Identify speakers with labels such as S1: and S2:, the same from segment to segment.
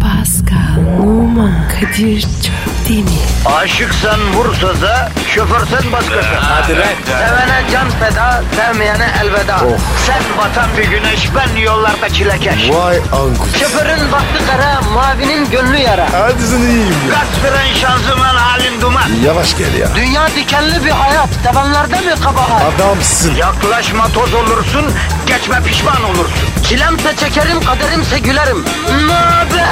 S1: Pascal, Oman, Kadir çok değil mi?
S2: Aşıksan vursa da şoförsen başkasın.
S3: Hadi lan. Oh.
S2: Sevene can feda, sevmeyene elveda. Sen batan bir güneş, ben yollarda çilekeş.
S3: Vay anku.
S2: Şoförün baktı kara, mavinin gönlü yara.
S3: Hadi sen iyiyim ya.
S2: Kasperen şanzıman halin duman.
S3: Yavaş gel ya.
S2: Dünya dikenli bir hayat, sevenlerde mi kabahar?
S3: Adamsın.
S2: Yaklaşma toz olursun, geçme pişman olursun. Çilemse çekerim, kaderimse gülerim. Möber!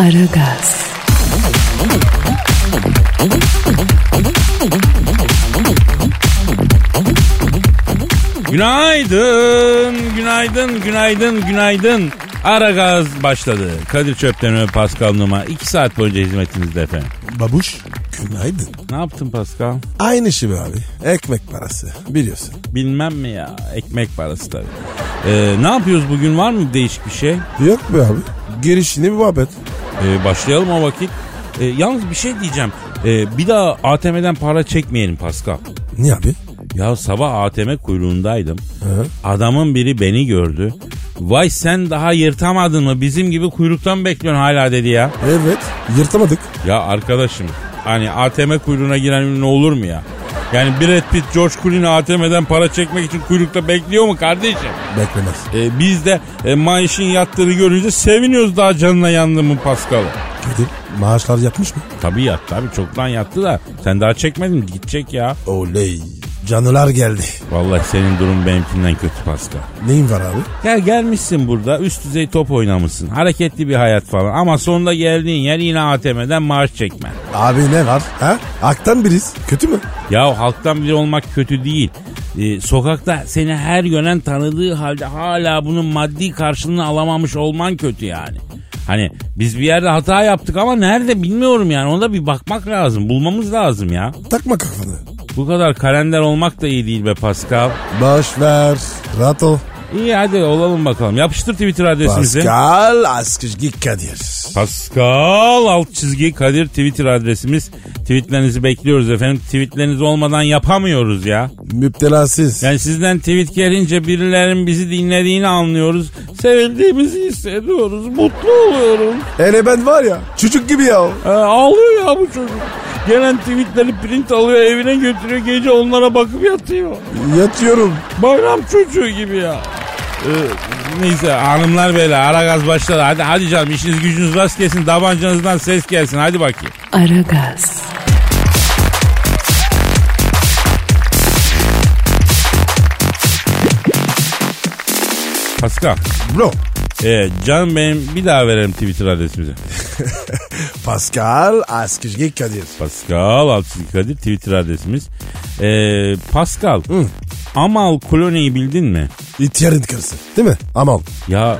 S1: Aragaz,
S4: Günaydın, günaydın, günaydın, günaydın. Ara gaz başladı. Kadir Çöpten ve Pascal Numa 2 saat boyunca hizmetinizde efendim.
S5: Babuş günaydın.
S4: Ne yaptın Pascal?
S5: Aynı şey be abi. Ekmek parası biliyorsun.
S4: Bilmem mi ya? Ekmek parası tabii. Ee, ne yapıyoruz bugün? Var mı değişik bir şey?
S5: Yok be abi. Girişini bir muhabbet.
S4: Ee, başlayalım o vakit. Ee, yalnız bir şey diyeceğim. Ee, bir daha ATM'den para çekmeyelim Pascal.
S5: Niye abi?
S4: Ya sabah ATM kuyruğundaydım.
S5: Hı?
S4: Adamın biri beni gördü. Vay sen daha yırtamadın mı? Bizim gibi kuyruktan bekliyorsun hala dedi ya.
S5: Evet yırtamadık.
S4: Ya arkadaşım hani ATM kuyruğuna giren ünlü olur mu ya? Yani Brad Pitt, George Clooney ATM'den para çekmek için kuyrukta bekliyor mu kardeşim?
S5: Beklemez.
S4: Ee, biz de e, maaşın yattığını görünce seviniyoruz daha canına yandı mı Pascal?
S5: Gidin maaşlar yapmış mı?
S4: Tabii yattı abi çoktan yattı da sen daha çekmedin mi? gidecek ya.
S5: Oley. Canılar geldi.
S4: Vallahi senin durum benimkinden kötü Pascal.
S5: Neyin var abi?
S4: Ya gelmişsin burada üst düzey top oynamışsın. Hareketli bir hayat falan ama sonunda geldiğin yer yine ATM'den maaş çekmen.
S5: Abi ne var? Ha? Aktan biriz. Kötü mü?
S4: Ya halktan biri olmak kötü değil. Ee, sokakta seni her yönen tanıdığı halde hala bunun maddi karşılığını alamamış olman kötü yani. Hani biz bir yerde hata yaptık ama nerede bilmiyorum yani ona bir bakmak lazım bulmamız lazım ya.
S5: Takma kafanı.
S4: Bu kadar kalender olmak da iyi değil be Pascal.
S5: Boş ver. Rahat ol.
S4: İyi hadi olalım bakalım yapıştır Twitter adresimizi.
S5: Pascal Askışgi Kadir.
S4: Pascal alt çizgi Kadir Twitter adresimiz. Tweetlerinizi bekliyoruz efendim. Tweetleriniz olmadan yapamıyoruz ya.
S5: Müptelasız.
S4: Yani sizden tweet gelince birilerin bizi dinlediğini anlıyoruz. Sevildiğimizi hissediyoruz. Mutlu oluyorum.
S5: Hele ben var ya çocuk gibi ya.
S4: Ee, ağlıyor ya bu çocuk. Gelen tweetleri print alıyor evine götürüyor. Gece onlara bakıp yatıyor.
S5: Yatıyorum.
S4: Bayram çocuğu gibi ya. Ee, neyse hanımlar beyler ara gaz başladı. Hadi hadi canım işiniz gücünüz rast gelsin. Tabancanızdan ses gelsin. Hadi bakayım.
S1: Aragaz,
S4: Pascal.
S5: Bro.
S4: Ee, canım benim bir daha verelim Twitter adresimizi.
S5: Pascal Askışgi Kadir.
S4: Pascal Altçizgi Kadir Twitter adresimiz. Ee, Pascal. Amal Clooney'i bildin mi?
S5: İhtiyarın karısı değil mi? Aman.
S4: Ya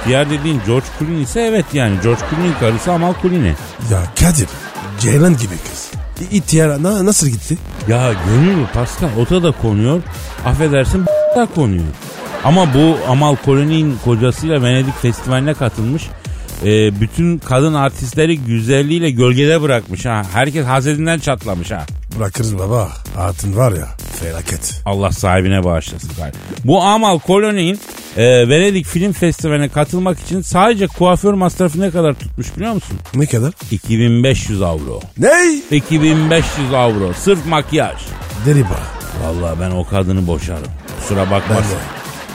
S4: ihtiyar dediğin George Clooney ise evet yani George Clooney'in karısı Amal Clooney.
S5: Ya Kadir Ceylan gibi kız. İ- İhtiyar na- nasıl gitti?
S4: Ya gönül mü Pascal ota da konuyor. Affedersin b- da konuyor. Ama bu Amal Clooney'in kocasıyla Venedik Festivali'ne katılmış. Ee, bütün kadın artistleri güzelliğiyle gölgede bırakmış ha. Herkes hazretinden çatlamış ha.
S5: Bırakırız baba. Hatun var ya felaket.
S4: Allah sahibine bağışlasın galiba. Bu Amal Koloni'nin e, Venedik Film Festivali'ne katılmak için sadece kuaför masrafı ne kadar tutmuş biliyor musun?
S5: Ne kadar?
S4: 2500 avro.
S5: Ney?
S4: 2500 avro. Sırf makyaj.
S5: Deri bağ.
S4: Vallahi ben o kadını boşarım. Kusura
S5: Ben
S4: bakmasın.
S5: de.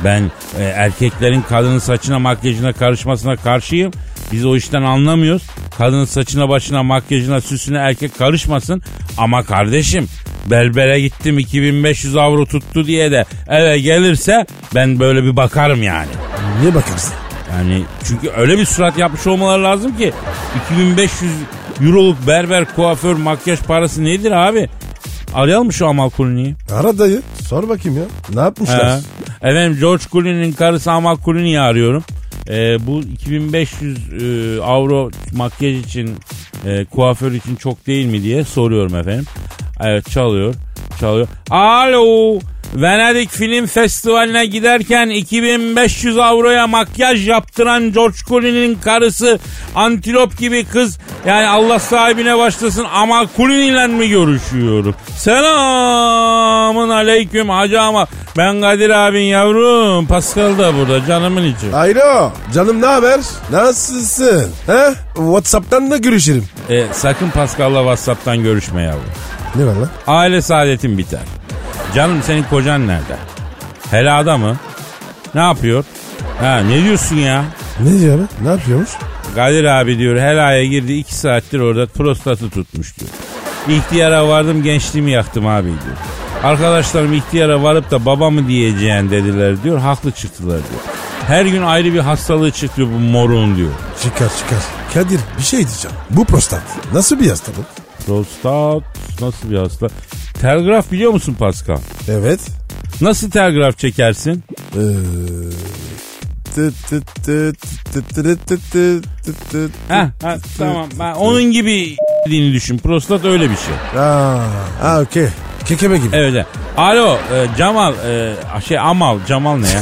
S4: Ben e, erkeklerin kadının saçına makyajına karışmasına karşıyım. Biz o işten anlamıyoruz. Kadının saçına başına makyajına süsüne erkek karışmasın. Ama kardeşim berbere gittim 2500 avro tuttu diye de eve gelirse ben böyle bir bakarım yani.
S5: Niye bakarsın?
S4: Yani çünkü öyle bir surat yapmış olmaları lazım ki 2500 euroluk berber kuaför makyaj parası nedir abi? Arayalım şu Amal Kuluni'yi.
S5: Ara dayı. Sor bakayım ya. Ne yapmışlar?
S4: He. Efendim George Clooney'nin karısı Amal Clooney'i arıyorum. Ee, bu 2500 e, avro makyaj için, e, kuaför için çok değil mi diye soruyorum efendim. Evet çalıyor, çalıyor. Alo, Venedik Film Festivali'ne giderken 2500 avroya makyaj yaptıran George Clooney'nin karısı antilop gibi kız yani Allah sahibine başlasın ama Clooney'le mi görüşüyorum? Selamın aleyküm hacı ama ben Kadir abin yavrum Pascal da burada canımın içi.
S5: Alo. Canım ne haber? Nasılsın? He? Whatsapp'tan da görüşelim.
S4: E, sakın Pascal'la Whatsapp'tan görüşme yavrum.
S5: Ne var lan?
S4: Aile saadetin biter. Canım senin kocan nerede? Helada mı? Ne yapıyor? Ha ne diyorsun ya?
S5: Ne diyor abi? Ne yapıyormuş?
S4: Kadir abi diyor helaya girdi iki saattir orada prostatı tutmuş diyor. İhtiyara vardım gençliğimi yaktım abi diyor. Arkadaşlarım ihtiyara varıp da baba mı diyeceğin dediler diyor. Haklı çıktılar diyor. Her gün ayrı bir hastalığı çıktı bu morun diyor.
S5: Çıkar çıkar. Kadir bir şey diyeceğim. Bu prostat nasıl bir hastalık?
S4: Prostat nasıl bir hasta? Telgraf biliyor musun Pascal?
S5: Evet.
S4: Nasıl telgraf çekersin? Ha, ha tamam. Ben onun gibi dediğini düşün. Prostat öyle bir şey.
S5: Aa, aa okey. Kekeme gibi.
S4: Evet. evet. Alo e, Cemal e, şey Amal Cemal ne ya?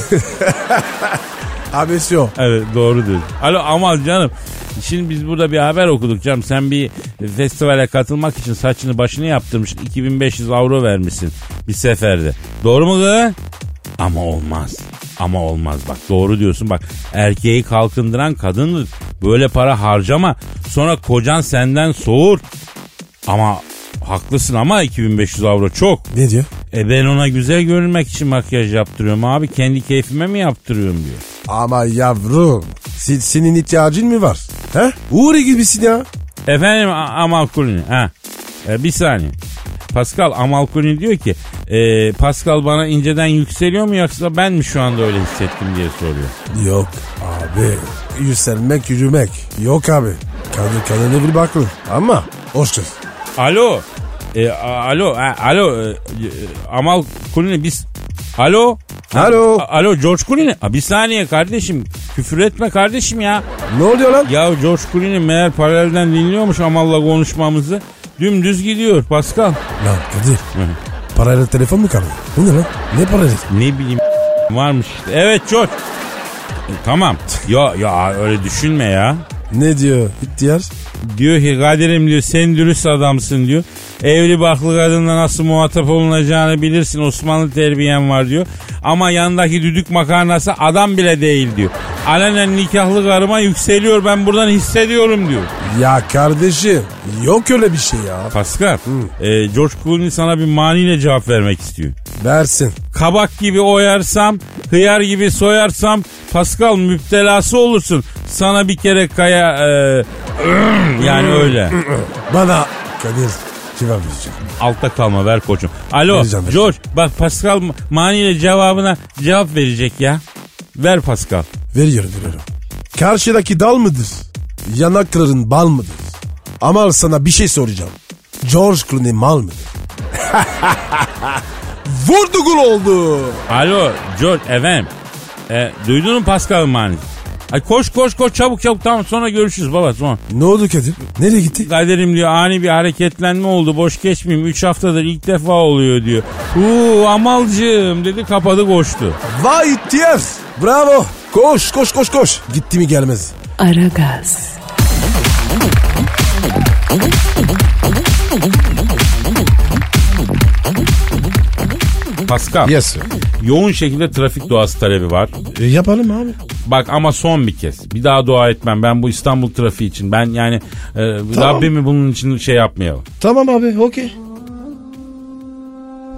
S5: Abesyon.
S4: evet doğru diyorsun. Alo Amal canım. Şimdi biz burada bir haber okuduk canım. Sen bir festivale katılmak için saçını başını yaptırmışsın. 2500 avro vermişsin bir seferde. Doğru mu kız? Ama olmaz. Ama olmaz bak doğru diyorsun bak erkeği kalkındıran kadındır. Böyle para harcama sonra kocan senden soğur. Ama haklısın ama 2500 avro çok.
S5: Ne diyor?
S4: E ben ona güzel görünmek için makyaj yaptırıyorum abi. Kendi keyfime mi yaptırıyorum diyor.
S5: Ama yavrum. se- senin ihtiyacın mı var? He? Uğuri gibisin ya.
S4: Efendim A- Amal Clooney. Ha. E, bir saniye. Pascal Amal Clooney diyor ki e, Pascal bana inceden yükseliyor mu yoksa ben mi şu anda öyle hissettim diye soruyor.
S5: Yok abi. Yükselmek yürümek. Yok abi. Kadın kadına bir bakın. Ama hoş kız.
S4: Alo. E, a- alo. a- alo. e, e, Amal Clooney biz... Alo.
S5: Alo.
S4: A- alo George Clooney. A, bir saniye kardeşim. Küfür etme kardeşim ya.
S5: Ne oluyor lan?
S4: Ya George Clooney meğer paralelden dinliyormuş Amal'la konuşmamızı. Dümdüz gidiyor Pascal.
S5: Lan Kadir. Parayla telefon mu kaldı? Bu ne lan? Ne parayla?
S4: Ne bileyim varmış işte. Evet George. E, tamam. ya ya öyle düşünme ya.
S5: Ne diyor ihtiyar?
S4: Diyor ki Kadir'im diyor sen dürüst adamsın diyor. Evli baklı kadınla nasıl muhatap olunacağını bilirsin Osmanlı terbiyen var diyor. Ama yanındaki düdük makarnası adam bile değil diyor. Alenen nikahlı karıma yükseliyor ben buradan hissediyorum diyor.
S5: Ya kardeşim yok öyle bir şey ya.
S4: Pascal, e, George Clooney sana bir maniyle cevap vermek istiyor.
S5: Versin.
S4: Kabak gibi oyarsam, hıyar gibi soyarsam Pascal müptelası olursun. Sana bir kere kaya e, yani öyle.
S5: Bana Kadir cevap verecek.
S4: Altta kalma ver koçum. Alo
S5: Vereceğim, vereceğim.
S4: George bak Pascal ma- maniyle cevabına cevap verecek ya. Ver Pascal.
S5: Veriyorum veriyorum. Karşıdaki dal mıdır? Yanakların bal mıdır? Ama sana bir şey soracağım. George Clooney mal mıdır? Vurdu gol oldu.
S4: Alo George efendim. E, duydun mu Pascal'ın manisi? Ay koş koş koş çabuk çabuk tamam sonra görüşürüz baba sonra.
S5: Ne oldu Kadir? Nereye gitti?
S4: Kaderim diyor ani bir hareketlenme oldu boş geçmeyeyim 3 haftadır ilk defa oluyor diyor. Uuu amalcığım dedi kapadı koştu.
S5: Vay ihtiyar. Bravo. Koş koş koş koş. Gitti mi gelmez.
S1: Aragaz,
S4: Pascal
S3: Yes.
S4: yoğun şekilde trafik doğası talebi var.
S5: E, yapalım abi.
S4: Bak ama son bir kez bir daha dua etmem ben bu İstanbul trafiği için ben yani e, Rabbimi bunun için şey yapmayalım.
S5: Tamam abi okey.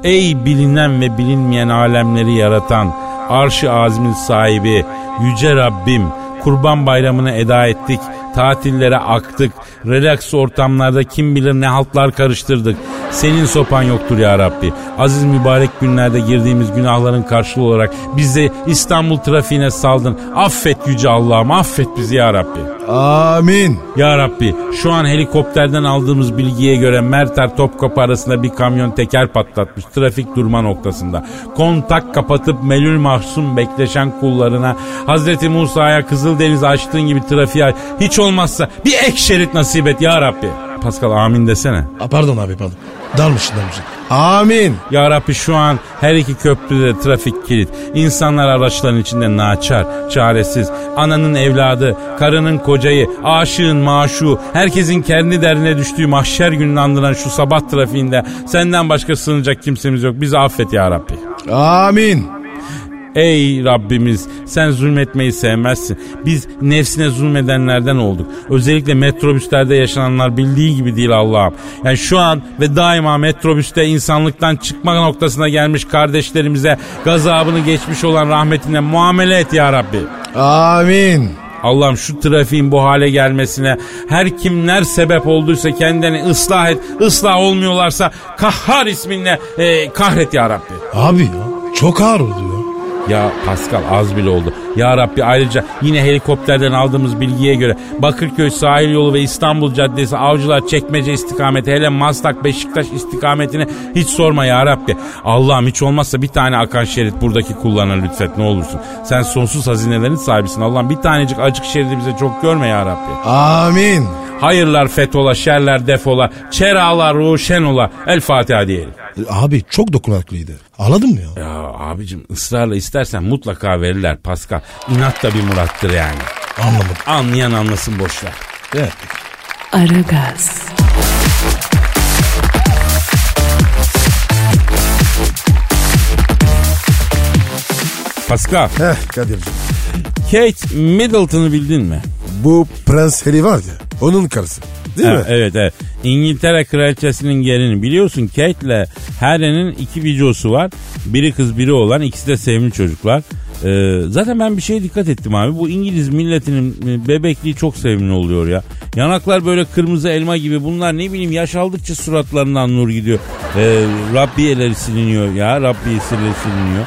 S4: Ey bilinen ve bilinmeyen alemleri yaratan, arş-ı azmin sahibi, yüce Rabbim, kurban bayramını eda ettik, tatillere aktık, relax ortamlarda kim bilir ne haltlar karıştırdık. Senin sopan yoktur ya Rabbi. Aziz mübarek günlerde girdiğimiz günahların karşılığı olarak bizi İstanbul trafiğine saldın. Affet yüce Allah'ım, affet bizi ya Rabbi.
S3: Amin.
S4: Ya Rabbi şu an helikopterden aldığımız bilgiye göre Mertar Topkapı arasında bir kamyon teker patlatmış trafik durma noktasında. Kontak kapatıp melül mahzun bekleşen kullarına Hazreti Musa'ya Kızıldeniz açtığın gibi trafiğe hiç olmazsa bir ek şerit nasip et ya Rabbi. Pascal amin desene.
S5: Aa, pardon abi pardon. Dalmışsın dalmışsın. Amin.
S4: Ya Rabbi şu an her iki köprüde trafik kilit. İnsanlar araçların içinde naçar, çaresiz. Ananın evladı, karının kocayı, aşığın maşu, herkesin kendi derdine düştüğü mahşer gününü andıran şu sabah trafiğinde senden başka sığınacak kimsemiz yok. Bizi affet ya Rabbi.
S5: Amin.
S4: Ey Rabbimiz sen zulmetmeyi sevmezsin. Biz nefsine zulmedenlerden olduk. Özellikle metrobüslerde yaşananlar bildiği gibi değil Allah'ım. Yani şu an ve daima metrobüste insanlıktan çıkma noktasına gelmiş kardeşlerimize gazabını geçmiş olan rahmetine muamele et ya Rabbi.
S5: Amin.
S4: Allah'ım şu trafiğin bu hale gelmesine her kimler sebep olduysa kendilerini ıslah et. Islah olmuyorlarsa kahhar isminle e, kahret ya Rabbi.
S5: Abi ya çok ağır oldu ya.
S4: Ya Pascal az bile oldu. Ya Rabbi ayrıca yine helikopterden aldığımız bilgiye göre Bakırköy sahil yolu ve İstanbul Caddesi Avcılar Çekmece istikameti hele Maslak Beşiktaş istikametini hiç sorma ya Rabbi. Allah'ım hiç olmazsa bir tane akan şerit buradaki kullanan lütfet ne olursun. Sen sonsuz hazinelerin sahibisin Allah'ım bir tanecik acık şeridi bize çok görme ya Rabbi.
S5: Amin.
S4: Hayırlar fetola, şerler defola, çeralar ruşen ola. El Fatiha diyelim.
S5: Abi çok dokunaklıydı. Ağladım ya.
S4: Ya abicim ısrarla istersen mutlaka verirler Pascal. İnat da bir murattır yani.
S5: Anlamadım.
S4: Anlayan anlasın boşver.
S5: Evet.
S1: Aragaz,
S4: Pascal,
S5: Heh Kadir'cim.
S4: Kate Middleton'ı bildin mi?
S5: Bu Prens Harry var ya onun karısı. Değil
S4: Ha,
S5: mi?
S4: Evet evet. İngiltere kraliçesinin gelini. Biliyorsun Kate ile Harry'nin iki videosu var. Biri kız biri olan ikisi de sevimli çocuklar. Ee, zaten ben bir şeye dikkat ettim abi. Bu İngiliz milletinin e, bebekliği çok sevimli oluyor ya. Yanaklar böyle kırmızı elma gibi. Bunlar ne bileyim yaş aldıkça suratlarından nur gidiyor. Ee, Rabbiyeleri siliniyor ya. Rabbiyeleri siliniyor.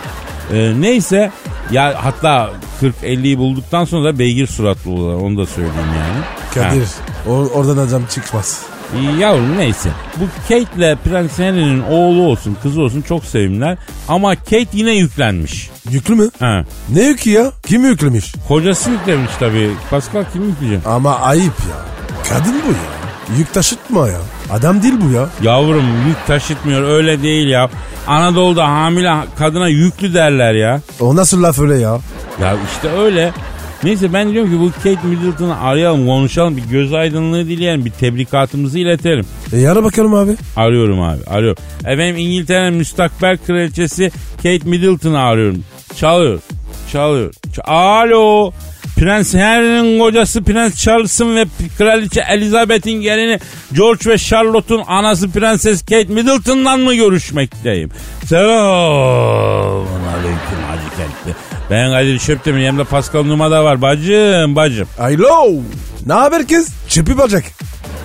S4: Ee, neyse ya hatta 40-50'yi bulduktan sonra da beygir suratlı oluyorlar onu da söyleyeyim yani.
S5: Kadir
S4: Ha.
S5: or- oradan adam çıkmaz.
S4: Ee, Yavrum neyse. Bu Kate ile Prens Henry'nin oğlu olsun kızı olsun çok sevimler. Ama Kate yine yüklenmiş.
S5: Yüklü mü?
S4: Ha.
S5: Ne yükü ya? Kim yüklemiş?
S4: Kocası yüklemiş tabii. Pascal kim yükleyeceğim?
S5: Ama ayıp ya. Kadın bu ya. Yük taşıtma ya. Adam değil bu ya.
S4: Yavrum yük taşıtmıyor öyle değil ya. Anadolu'da hamile kadına yüklü derler ya.
S5: O nasıl laf öyle ya?
S4: Ya işte öyle. Neyse ben diyorum ki bu Kate Middleton'ı arayalım konuşalım bir göz aydınlığı dileyelim bir tebrikatımızı iletelim.
S5: E yara bakalım abi.
S4: Arıyorum abi arıyorum. Efendim İngiltere'nin müstakbel kraliçesi Kate Middleton'ı arıyorum. Çalıyor. Çalıyor. Ç- Alo. Prens Harry'nin kocası Prens Charles'ın ve P- Kraliçe Elizabeth'in gelini George ve Charlotte'un anası Prenses Kate Middleton'la mı görüşmekteyim? Selamun aleyküm Hacı Kentli. Ben Kadir Çöptemir yanımda Pascal Numa da var. Bacım bacım.
S5: Alo. Ne haber kız? Çırpı bacak.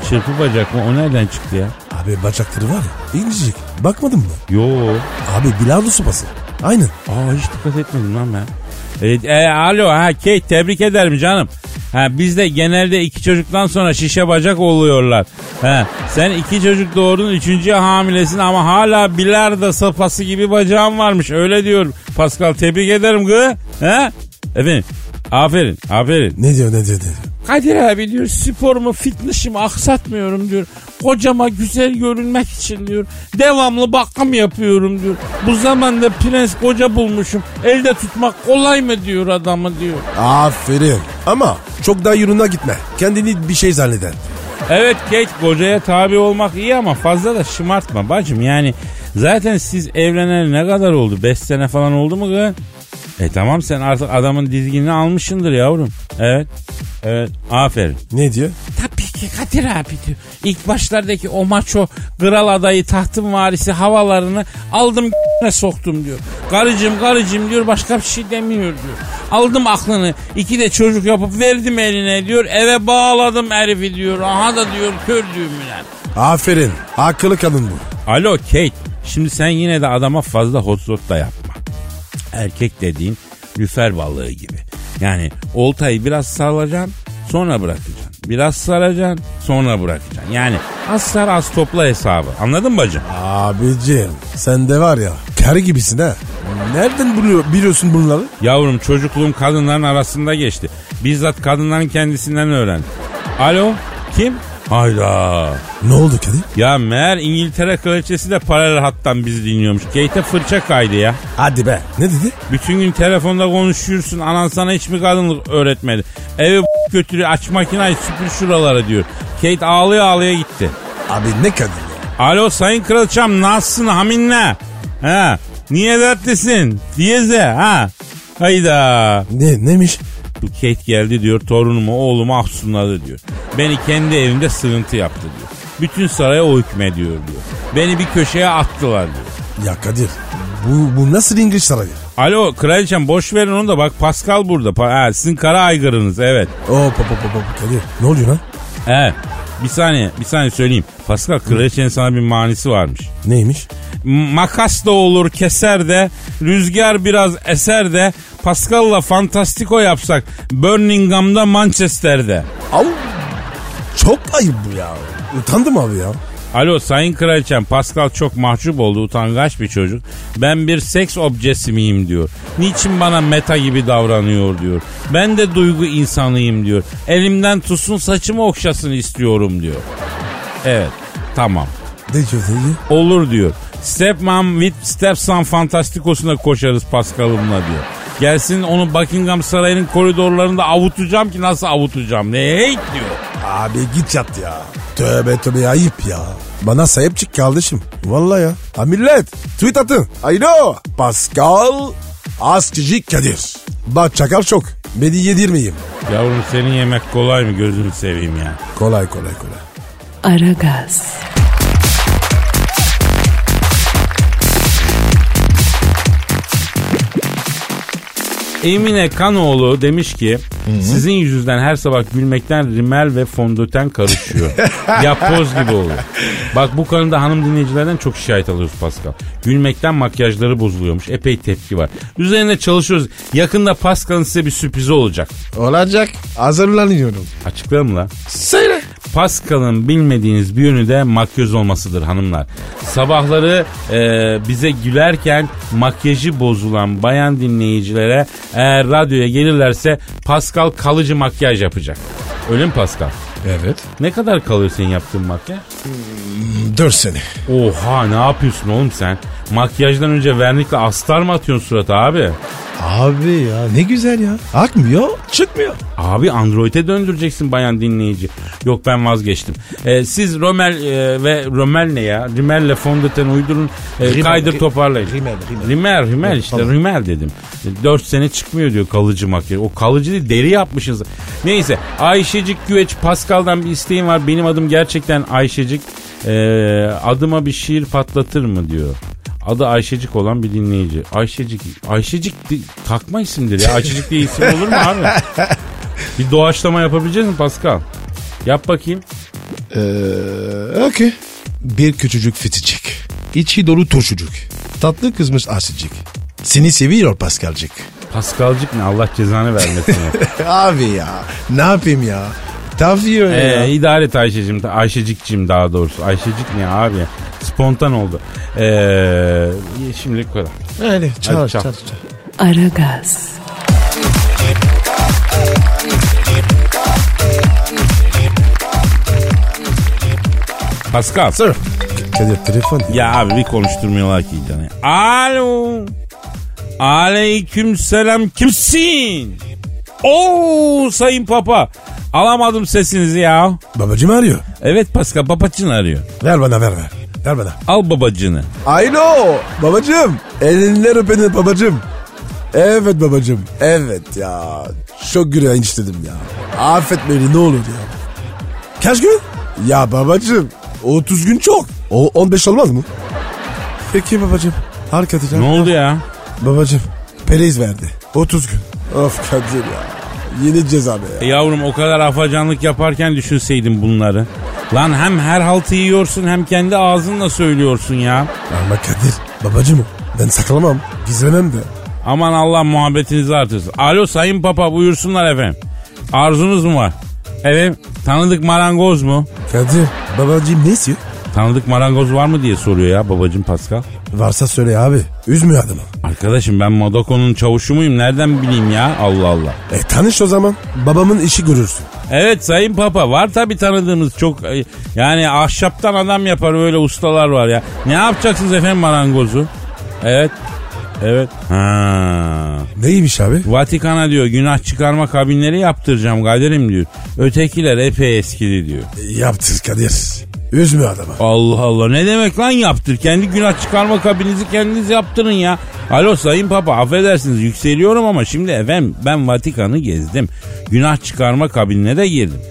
S4: Çırpı bacak mı? O nereden çıktı ya?
S5: Abi bacakları var ya incecik. Bakmadın mı?
S4: Yo.
S5: Abi bilardo sopası. Aynen.
S4: Aa hiç dikkat etmedim lan ben. E, e, alo ha Kate tebrik ederim canım. Ha bizde genelde iki çocuktan sonra şişe bacak oluyorlar. Ha sen iki çocuk doğurdun üçüncüye hamilesin ama hala bilardo sapası gibi bacağın varmış öyle diyor Pascal tebrik ederim gı. Ha? Efendim aferin aferin.
S5: Ne diyor ne diyor ne diyor.
S4: Kadir abi diyor sporumu fitnessimi aksatmıyorum diyor. Kocama güzel görünmek için diyor. Devamlı bakım yapıyorum diyor. Bu zamanda prens koca bulmuşum. Elde tutmak kolay mı diyor adamı diyor.
S5: Aferin. Ama çok daha yoluna gitme. Kendini bir şey zanneder.
S4: Evet geç kocaya tabi olmak iyi ama fazla da şımartma bacım yani. Zaten siz evleneli ne kadar oldu? 5 sene falan oldu mu kız? E tamam sen artık adamın dizginini almışsındır yavrum. Evet. Evet. Aferin.
S5: Ne diyor?
S4: Tabii ki Kadir abi diyor. İlk başlardaki o maço kral adayı tahtın varisi havalarını aldım ne soktum diyor. Karıcım karıcım diyor başka bir şey demiyor diyor. Aldım aklını iki de çocuk yapıp verdim eline diyor. Eve bağladım herifi diyor. Aha da diyor kör düğümüne.
S5: Aferin. Akıllı kadın bu.
S4: Alo Kate. Şimdi sen yine de adama fazla hotzot da yapma. Erkek dediğin lüfer balığı gibi. Yani oltayı biraz sallayacaksın sonra bırakacaksın. Biraz saracaksın sonra bırakacaksın. Yani az sar az topla hesabı. Anladın mı bacım?
S5: Abicim sen de var ya karı gibisin ha. Nereden buluyor, biliyorsun bunları?
S4: Yavrum çocukluğum kadınların arasında geçti. Bizzat kadınların kendisinden öğrendim. Alo kim? Hayda.
S5: Ne oldu Kadir?
S4: Ya meğer İngiltere kraliçesi de paralel hattan bizi dinliyormuş. Gate'e fırça kaydı ya.
S5: Hadi be. Ne dedi?
S4: Bütün gün telefonda konuşuyorsun. Anan sana hiç mi kadınlık öğretmedi? Eve b- götürüyor aç makinayı süpür şuralara diyor. Kate ağlıyor ağlıyor gitti.
S5: Abi ne Kadir ya?
S4: Alo sayın kraliçem nasılsın haminle? Ha, niye dertlisin? Diyeze ha. Hayda.
S5: Ne, neymiş?
S4: Bu Kate geldi diyor torunumu oğlumu afsunladı diyor. Beni kendi evimde sığıntı yaptı diyor. Bütün saraya o hükmediyor diyor. Beni bir köşeye attılar diyor.
S5: Ya Kadir bu, bu nasıl İngiliz sarayı?
S4: Alo kraliçem boş verin onu da bak Pascal burada. Pa- ha, sizin kara aygırınız evet.
S5: Oo pa pa pa pa Kadir. Ne oluyor lan?
S4: Evet. Bir saniye, bir saniye söyleyeyim. Pascal kraliçenin sana bir manisi varmış.
S5: Neymiş?
S4: M- Makas da olur keser de, rüzgar biraz eser de, Pascal'la Fantastico yapsak Birmingham'da Manchester'de.
S5: Av. Çok ayıp bu ya. Utandım abi ya.
S4: Alo sayın kraliçem Pascal çok mahcup oldu utangaç bir çocuk. Ben bir seks objesi miyim diyor. Niçin bana meta gibi davranıyor diyor. Ben de duygu insanıyım diyor. Elimden tutsun saçımı okşasın istiyorum diyor. Evet tamam.
S5: Ne diyor ne diyor?
S4: Olur diyor. Stepmom with Stepson Fantastikos'una koşarız Pascal'ımla diyor. Gelsin onu Buckingham Sarayı'nın koridorlarında avutacağım ki nasıl avutacağım. Ne hey diyor.
S5: Abi git yat ya. Tövbe tövbe ayıp ya. Bana sahip çık kardeşim. Vallahi ya. Ha millet tweet atın. Alo. Pascal Askici Kadir. Bak çakal çok. Beni yedirmeyin.
S4: Yavrum senin yemek kolay mı gözünü seveyim ya.
S5: Kolay kolay kolay.
S1: Aragaz,
S4: Emine Kanoğlu demiş ki sizin yüzünden her sabah gülmekten rimel ve fondöten karışıyor. Yapboz gibi oluyor. Bak bu konuda hanım dinleyicilerden çok şikayet alıyoruz Pascal. Gülmekten makyajları bozuluyormuş. Epey tepki var. Üzerine çalışıyoruz. Yakında Pascal'ın size bir sürprizi olacak.
S3: Olacak. Hazırlanıyorum.
S4: Açıklayalım la.
S3: Söyle.
S4: Pascal'ın bilmediğiniz bir yönü de makyöz olmasıdır hanımlar. Sabahları e, bize gülerken makyajı bozulan bayan dinleyicilere eğer radyoya gelirlerse Pascal kalıcı makyaj yapacak. Öyle mi Pascal?
S3: Evet.
S4: Ne kadar kalıyor senin yaptığın makyaj?
S5: 4 sene.
S4: Oha ne yapıyorsun oğlum sen? Makyajdan önce vernikle astar mı atıyorsun surata abi?
S3: Abi ya ne güzel ya. Akmıyor çıkmıyor.
S4: Abi Android'e döndüreceksin bayan dinleyici. Yok ben vazgeçtim. Ee, siz Romel e, ve Romel ne ya? Rimel'le fondöten uydurun. e,
S3: Rimmel,
S4: kaydır
S3: ri-
S4: toparlayın.
S3: Rimmel, Rimmel.
S4: Rimmel, Rimmel işte
S3: tamam.
S4: Rimmel dedim. 4 sene çıkmıyor diyor kalıcı makyaj. O kalıcı değil deri yapmışız. Neyse Ayşecik Güveç Pascal'dan bir isteğim var. Benim adım gerçekten Ayşecik. Ee, adıma bir şiir patlatır mı diyor. Adı Ayşecik olan bir dinleyici. Ayşecik, Ayşecik di- takma isimdir ya. Ayşecik diye isim olur mu abi? Bir doğaçlama yapabileceğiz mi Pascal? Yap bakayım.
S3: Ee, okey. Bir küçücük fiticik. İçi dolu turşucuk. Tatlı kızmış asicik. Seni seviyor Pascalcık.
S4: Pascalcık ne Allah cezanı vermesin. ya.
S3: Abi ya ne yapayım ya. Tavsiye öyle
S4: ee,
S3: ya.
S4: idare et Ayşe'cim. Ayşecik'cim daha doğrusu. Ayşecik ne abi? Spontan oldu. Ee, şimdilik bu kadar.
S3: Öyle çal,
S4: Hadi çal.
S3: çal, çal.
S1: Aragaz,
S4: Pascal.
S5: Kadir telefon. Ya.
S4: Ya abi bir konuşturmuyorlar ki canı. Alo. Aleyküm selam kimsin? Oo sayın papa. Alamadım sesinizi ya.
S5: Babacım arıyor.
S4: Evet Pascal papacın arıyor.
S5: Ver bana ver ver. Ver bana.
S4: Al babacını.
S5: Alo babacım. Elinler öpenin babacım. Evet babacım. Evet ya. Çok gülen istedim ya. Affet beni ne olur ya. Kaç gün? Ya babacım 30 gün çok. O 15 olmaz mı? Peki babacım. Arkadaşlar.
S4: Ne oldu ya?
S5: Babacım Pereyiz verdi. 30 gün. Of Kadir ya. Yeni ceza be
S4: E
S5: ya.
S4: Yavrum o kadar afacanlık yaparken düşünseydin bunları. Lan hem her haltı yiyorsun hem kendi ağzınla söylüyorsun ya.
S5: Ama Kadir babacım ben saklamam. Gizlemem de.
S4: Aman Allah muhabbetinizi artırsın. Alo sayın papa buyursunlar efendim. Arzunuz mu var? Evet tanıdık marangoz mu?
S5: Kadir babacım ne istiyor?
S4: Tanıdık marangoz var mı diye soruyor ya babacım Pascal.
S5: Varsa söyle abi. Üzmüyor adamı.
S4: Arkadaşım ben Madoko'nun çavuşu muyum nereden bileyim ya Allah Allah.
S5: E tanış o zaman. Babamın işi görürsün.
S4: Evet Sayın Papa var tabi tanıdığımız çok e, yani ahşaptan adam yapar öyle ustalar var ya. Ne yapacaksınız efendim marangozu? Evet. Evet. Ha.
S5: Neymiş abi?
S4: Vatikan'a diyor günah çıkarma kabinleri yaptıracağım Kadir'im diyor. Ötekiler epey eskidi diyor.
S5: E, Yaptır Kadir. Üzmüyor adamı.
S4: Allah Allah ne demek lan yaptır. Kendi günah çıkarma kabinizi kendiniz yaptırın ya. Alo Sayın Papa affedersiniz yükseliyorum ama şimdi efendim ben Vatikan'ı gezdim. Günah çıkarma kabinine de girdim.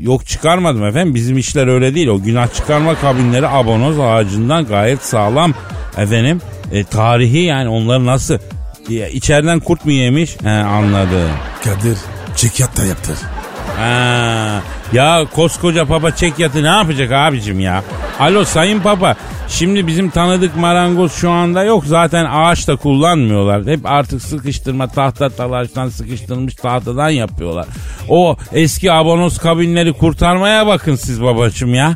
S4: Yok çıkarmadım efendim bizim işler öyle değil. O günah çıkarma kabinleri abonoz ağacından gayet sağlam efendim. E, tarihi yani onları nasıl e, içeriden kurt mu yemiş? He anladım.
S5: Kadir çekyat da yaptır.
S4: Ha, ya koskoca papa çek yatı ne yapacak abicim ya? Alo sayın papa şimdi bizim tanıdık marangoz şu anda yok zaten ağaç da kullanmıyorlar. Hep artık sıkıştırma tahta talaştan sıkıştırılmış tahtadan yapıyorlar. O eski abonos kabinleri kurtarmaya bakın siz babacım ya.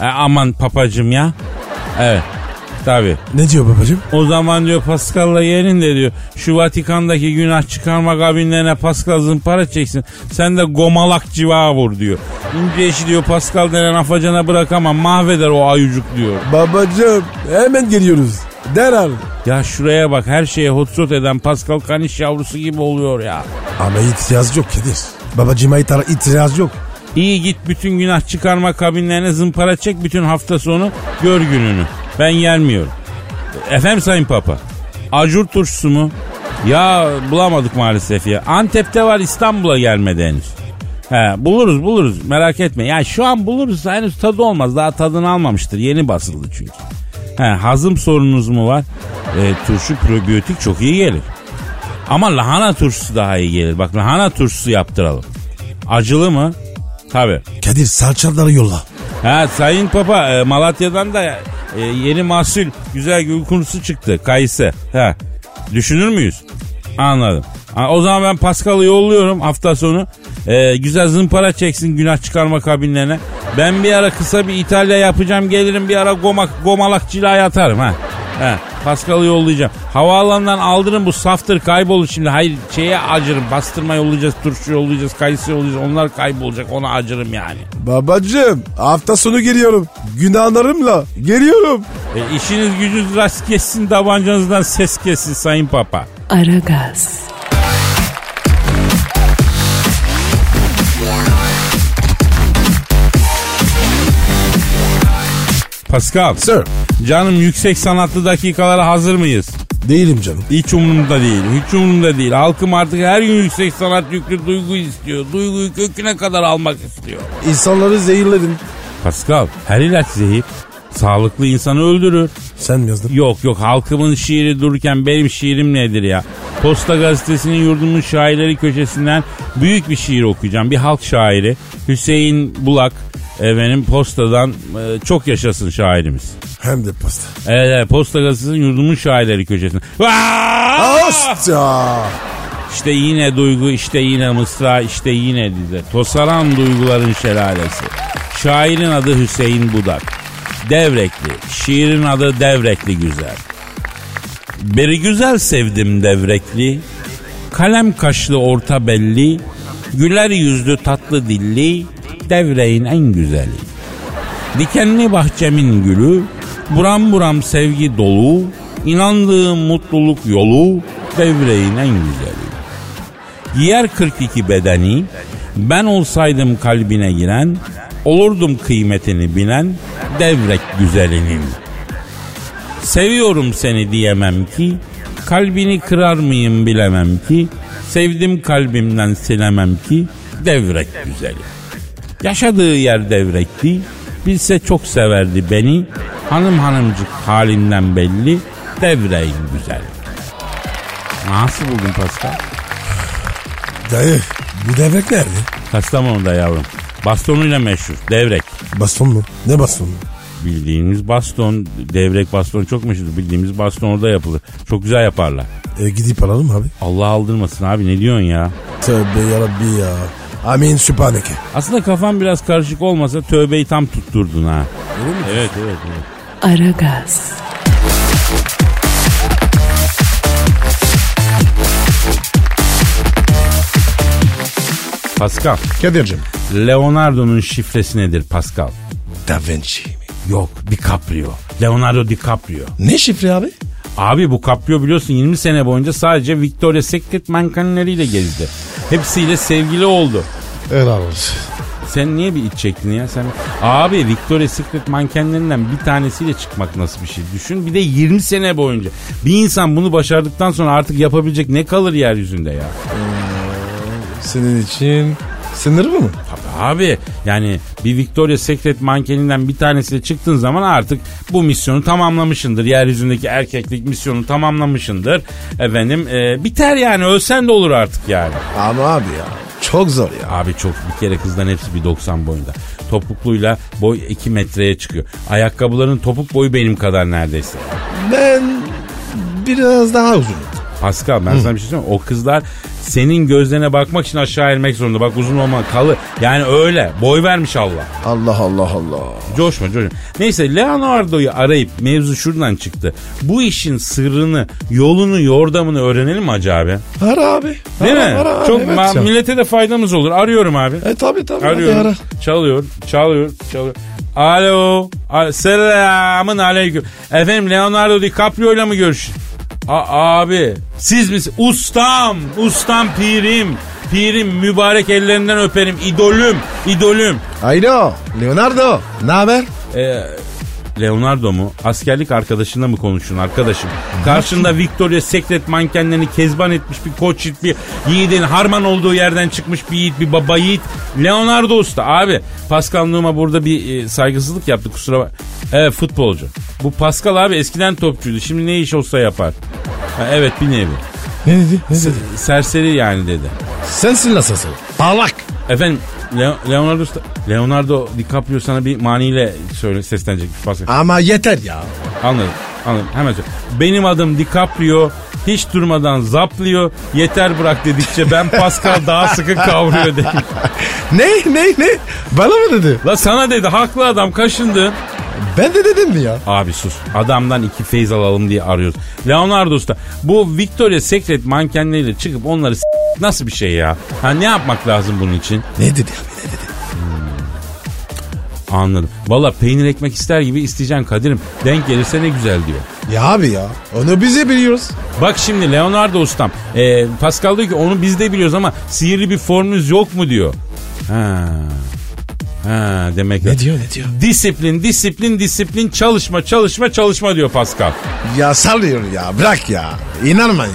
S4: E, aman papacım ya. Evet tabii.
S5: Ne diyor babacığım?
S4: O zaman diyor Pascal'la yerin de diyor şu Vatikan'daki günah çıkarma kabinlerine Pascal zımpara çeksin. Sen de gomalak civa vur diyor. İnce işi diyor Pascal denen afacana bırakamam mahveder o ayucuk diyor.
S5: Babacığım hemen geliyoruz. Derhal.
S4: Ya şuraya bak her şeye hotsot eden Pascal kaniş yavrusu gibi oluyor ya.
S5: Ama itiraz yok Kadir. Babacığıma itiraz- itiraz yok.
S4: İyi git bütün günah çıkarma kabinlerine zımpara çek bütün hafta sonu gör gününü. Ben yermiyorum. Efendim Sayın Papa. Acur turşusu mu? Ya bulamadık maalesef ya. Antep'te var İstanbul'a gelmedi henüz. He, buluruz buluruz merak etme. Ya şu an buluruz henüz tadı olmaz. Daha tadını almamıştır. Yeni basıldı çünkü. He, hazım sorununuz mu var? E, turşu probiyotik çok iyi gelir. Ama lahana turşusu daha iyi gelir. Bak lahana turşusu yaptıralım. Acılı mı? Tabii.
S5: Kadir salçaları yolla.
S4: Ha Sayın Papa e, Malatya'dan da e, yeni mahsul güzel gül kurusu çıktı. Kayısı. Ha. Düşünür müyüz? Anladım. Ha, o zaman ben Paskal'ı yolluyorum hafta sonu. E, güzel zımpara çeksin günah çıkarma kabinlerine. Ben bir ara kısa bir İtalya yapacağım. Gelirim bir ara gomak, gomalak cilaya atarım. Ha. ha. Paskal'ı yollayacağım. Havaalanından aldırın bu saftır kaybolur şimdi. Hayır şeye acırım. Bastırma yollayacağız, turşu yollayacağız, kayısı yollayacağız. Onlar kaybolacak. Ona acırım yani.
S5: Babacığım hafta sonu geliyorum. Günahlarımla geliyorum.
S4: E, işiniz gücünüz rast kessin, tabancanızdan ses kessin Sayın Papa.
S1: Aragaz,
S4: Pascal.
S5: Sir.
S4: Canım yüksek sanatlı dakikalara hazır mıyız?
S5: Değilim canım.
S4: Hiç umurumda değil, hiç umurumda değil. Halkım artık her gün yüksek sanat yüklü duygu istiyor. Duyguyu köküne kadar almak istiyor.
S5: İnsanları zehirledin.
S4: Pascal, her ilaç zehir. Sağlıklı insanı öldürür.
S5: Sen mi yazdın?
S4: Yok yok halkımın şiiri dururken benim şiirim nedir ya? Posta gazetesinin yurdumun şairleri köşesinden büyük bir şiir okuyacağım. Bir halk şairi Hüseyin Bulak efendim postadan e, çok yaşasın şairimiz.
S5: Hem de pasta.
S4: Evet, evet, posta gazetesinin yurdumun şairleri köşesinden. Vaa!
S5: Pasta.
S4: İşte yine duygu, işte yine mısra, işte yine dize. Tosaran duyguların şelalesi. Şairin adı Hüseyin Budak. Devrekli. Şiirin adı Devrekli Güzel. Bir güzel sevdim devrekli. Kalem kaşlı orta belli. Güler yüzlü tatlı dilli. Devreğin en güzeli. Dikenli bahçemin gülü, buram buram sevgi dolu, inandığım mutluluk yolu, devreğin en güzeli. Yer 42 bedeni, ben olsaydım kalbine giren, olurdum kıymetini bilen, devrek güzelinin. Seviyorum seni diyemem ki, kalbini kırar mıyım bilemem ki, sevdim kalbimden silemem ki, devrek güzeli. Yaşadığı yer devretti. Bilse çok severdi beni. Hanım hanımcık halimden belli. Devreyin güzel. Nasıl buldun Pascal?
S5: Dayı bu devrek nerede?
S4: Kastamonu'da yavrum. Bastonuyla meşhur. Devrek.
S5: Baston mu? Ne baston mu?
S4: Bildiğimiz baston. Devrek baston çok meşhur. Bildiğimiz baston orada yapılır. Çok güzel yaparlar.
S5: E, gidip alalım abi.
S4: Allah aldırmasın abi ne diyorsun ya?
S5: Tövbe yarabbi ya. Amin sübhaneke.
S4: Aslında kafam biraz karışık olmasa tövbeyi tam tutturdun ha. Evet evet. evet.
S1: Aragaz,
S4: Pascal.
S3: Kadir'cim.
S4: Leonardo'nun şifresi nedir Pascal?
S3: Da Vinci mi?
S4: Yok DiCaprio. Leonardo DiCaprio.
S3: Ne şifre abi?
S4: Abi bu Caprio biliyorsun 20 sene boyunca sadece Victoria Secret mankenleriyle gezdi. Hepsiyle sevgili oldu.
S3: Helal olsun.
S4: Sen niye bir iç çektin ya sen? Abi Victoria Secret mankenlerinden bir tanesiyle çıkmak nasıl bir şey düşün. Bir de 20 sene boyunca. Bir insan bunu başardıktan sonra artık yapabilecek ne kalır yeryüzünde ya?
S3: Senin için sınırı mı?
S4: Tabii abi yani bir Victoria Secret mankeninden bir tanesiyle çıktığın zaman artık bu misyonu tamamlamışındır. Yeryüzündeki erkeklik misyonu tamamlamışındır. Efendim e, biter yani ölsen de olur artık yani.
S5: Ama abi ya.
S3: Çok zor ya.
S4: Abi çok bir kere kızdan hepsi bir 90 boyunda. Topukluyla boy 2 metreye çıkıyor. Ayakkabıların topuk boyu benim kadar neredeyse.
S3: Ben biraz daha uzun.
S4: Pascal ben sana bir şey söyleyeyim mi? O kızlar senin gözlerine bakmak için aşağı inmek zorunda. Bak uzun olma kalı. Yani öyle. Boy vermiş Allah.
S5: Allah Allah Allah.
S4: Coşma coşma. Neyse Leonardo'yu arayıp mevzu şuradan çıktı. Bu işin sırrını, yolunu, yordamını öğrenelim mi acaba? abi?
S3: Ara abi.
S4: Değil
S3: Ara,
S4: mi?
S3: ara, ara,
S4: Çok
S3: evet
S4: ma-
S3: ya.
S4: millete de faydamız olur. Arıyorum abi.
S3: E tabi tabi.
S4: Arıyorum. Çalıyor, çalıyor, çalıyor. Alo. A- Selamın aleyküm. Efendim Leonardo DiCaprio ile mi görüşün? A- abi siz misiniz? Ustam, ustam pirim. Pirim mübarek ellerinden öperim. İdolüm, idolüm.
S3: Alo. Leonardo. Ne haber?
S4: Ee, Leonardo mu? Askerlik arkadaşına mı konuşun arkadaşım? Karşında Victoria Secret mankenlerini kezban etmiş bir koç yiğit, bir yiğidin harman olduğu yerden çıkmış bir yiğit, bir baba yiğit. Leonardo Usta abi. Pascal Numa burada bir e, saygısızlık yaptı kusura bak. Evet futbolcu. Bu Pascal abi eskiden topçuydu. Şimdi ne iş olsa yapar. Ha, evet bir nevi.
S3: Ne dedi? Ne dedi?
S4: Serseri yani dedi.
S3: Sensin nasılsın? Parlak.
S4: Efendim Le- Leonardo Usta- Leonardo DiCaprio sana bir maniyle söyle seslenecekmiş Pascal.
S3: Ama yeter ya.
S4: Anladım. Anladım. Hemen söyle. Benim adım DiCaprio. Hiç durmadan zaplıyor. Yeter bırak dedikçe ben Pascal daha sıkı kavruyor dedi.
S3: Ne ne ne? Bana mı dedi?
S4: La sana dedi haklı adam kaşındı.
S3: Ben de dedim mi ya?
S4: Abi sus. Adamdan iki feyz alalım diye arıyoruz. Leonardo Usta bu Victoria Secret mankenleriyle çıkıp onları s- nasıl bir şey ya? Ha ne yapmak lazım bunun için?
S3: Ne dedi abi? Ne dedi?
S4: Anladım. Valla peynir ekmek ister gibi isteyeceksin Kadir'im. Denk gelirse ne güzel diyor.
S3: Ya abi ya. Onu bize biliyoruz.
S4: Bak şimdi Leonardo ustam. E, Pascal diyor ki onu biz de biliyoruz ama sihirli bir formünüz yok mu diyor. Ha. Ha demek ki.
S3: Ne diyor ne diyor?
S4: Disiplin, disiplin, disiplin, çalışma, çalışma, çalışma diyor Pascal.
S3: Ya sallıyor ya. Bırak ya. İnanma ya.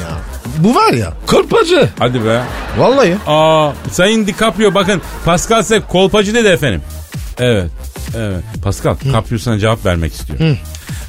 S3: Bu var ya. Korpacı.
S4: Hadi be.
S3: Vallahi.
S4: Aa, Sayın DiCaprio bakın Pascal size kolpacı dedi efendim. Evet. Evet. Pascal, Caprio sana cevap vermek istiyor.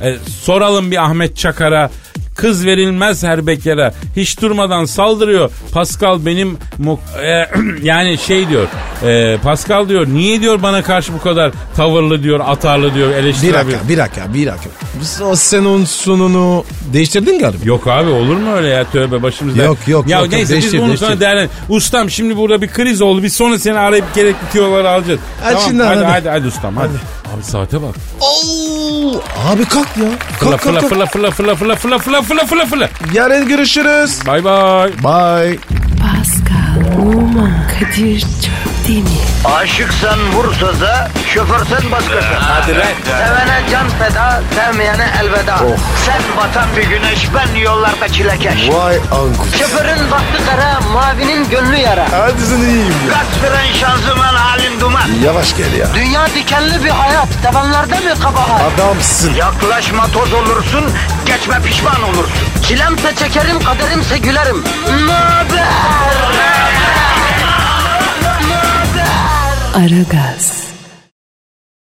S4: E, soralım bir Ahmet Çakar'a. Kız verilmez her bekara. Hiç durmadan saldırıyor. Pascal benim mu- e, yani şey diyor. E, Pascal diyor niye diyor bana karşı bu kadar tavırlı diyor, atarlı diyor,
S3: Bir
S4: eleştirebiliyor.
S3: dakika, bir dakika, bir dakika. Biz o senin sununu değiştirdin galiba.
S4: Yok abi olur mu öyle ya tövbe başımızda.
S3: Yok, yok,
S4: Ya
S3: yok, yok.
S4: neyse
S3: Değiştir,
S4: biz bunu
S3: değiştir.
S4: sonra değerlen. Ustam şimdi burada bir kriz oldu. Biz sonra seni arayıp gerekli tiyoları alacağız.
S3: Hadi şimdi,
S4: hadi, hadi.
S3: hadi.
S4: Hadi ustam hadi. Abi saate bak.
S3: Oo, abi kalk ya.
S4: Fıla
S3: Kalk kalk
S4: fıla
S3: kalk.
S4: fıla fıla fıla fıla fıla fıla fıla fıla fıla.
S3: Yarın görüşürüz.
S4: Bay bay.
S3: Bye.
S1: Pascal, Oman, Kadir çok değil mi?
S2: Aşıksan vursa da, şoförsen başkasın. Hadi Sevene can feda, sevmeyene elveda. Sen batan bir güneş, ben yollarda çilekeş.
S5: Vay anku.
S2: Şoförün baktı kara, mavinin gönlü yara.
S5: Hadi sen iyiyim ya.
S2: Kasperen şanzıman halin duman.
S5: Yavaş gel ya.
S2: Dünya dikenli bir hayat, sevenlerde mi kabahar?
S5: Adamsın.
S2: Yaklaşma toz olursun, geçme pişman olursun. Çilemse çekerim, kaderimse gülerim. Möber!
S1: Aragaz.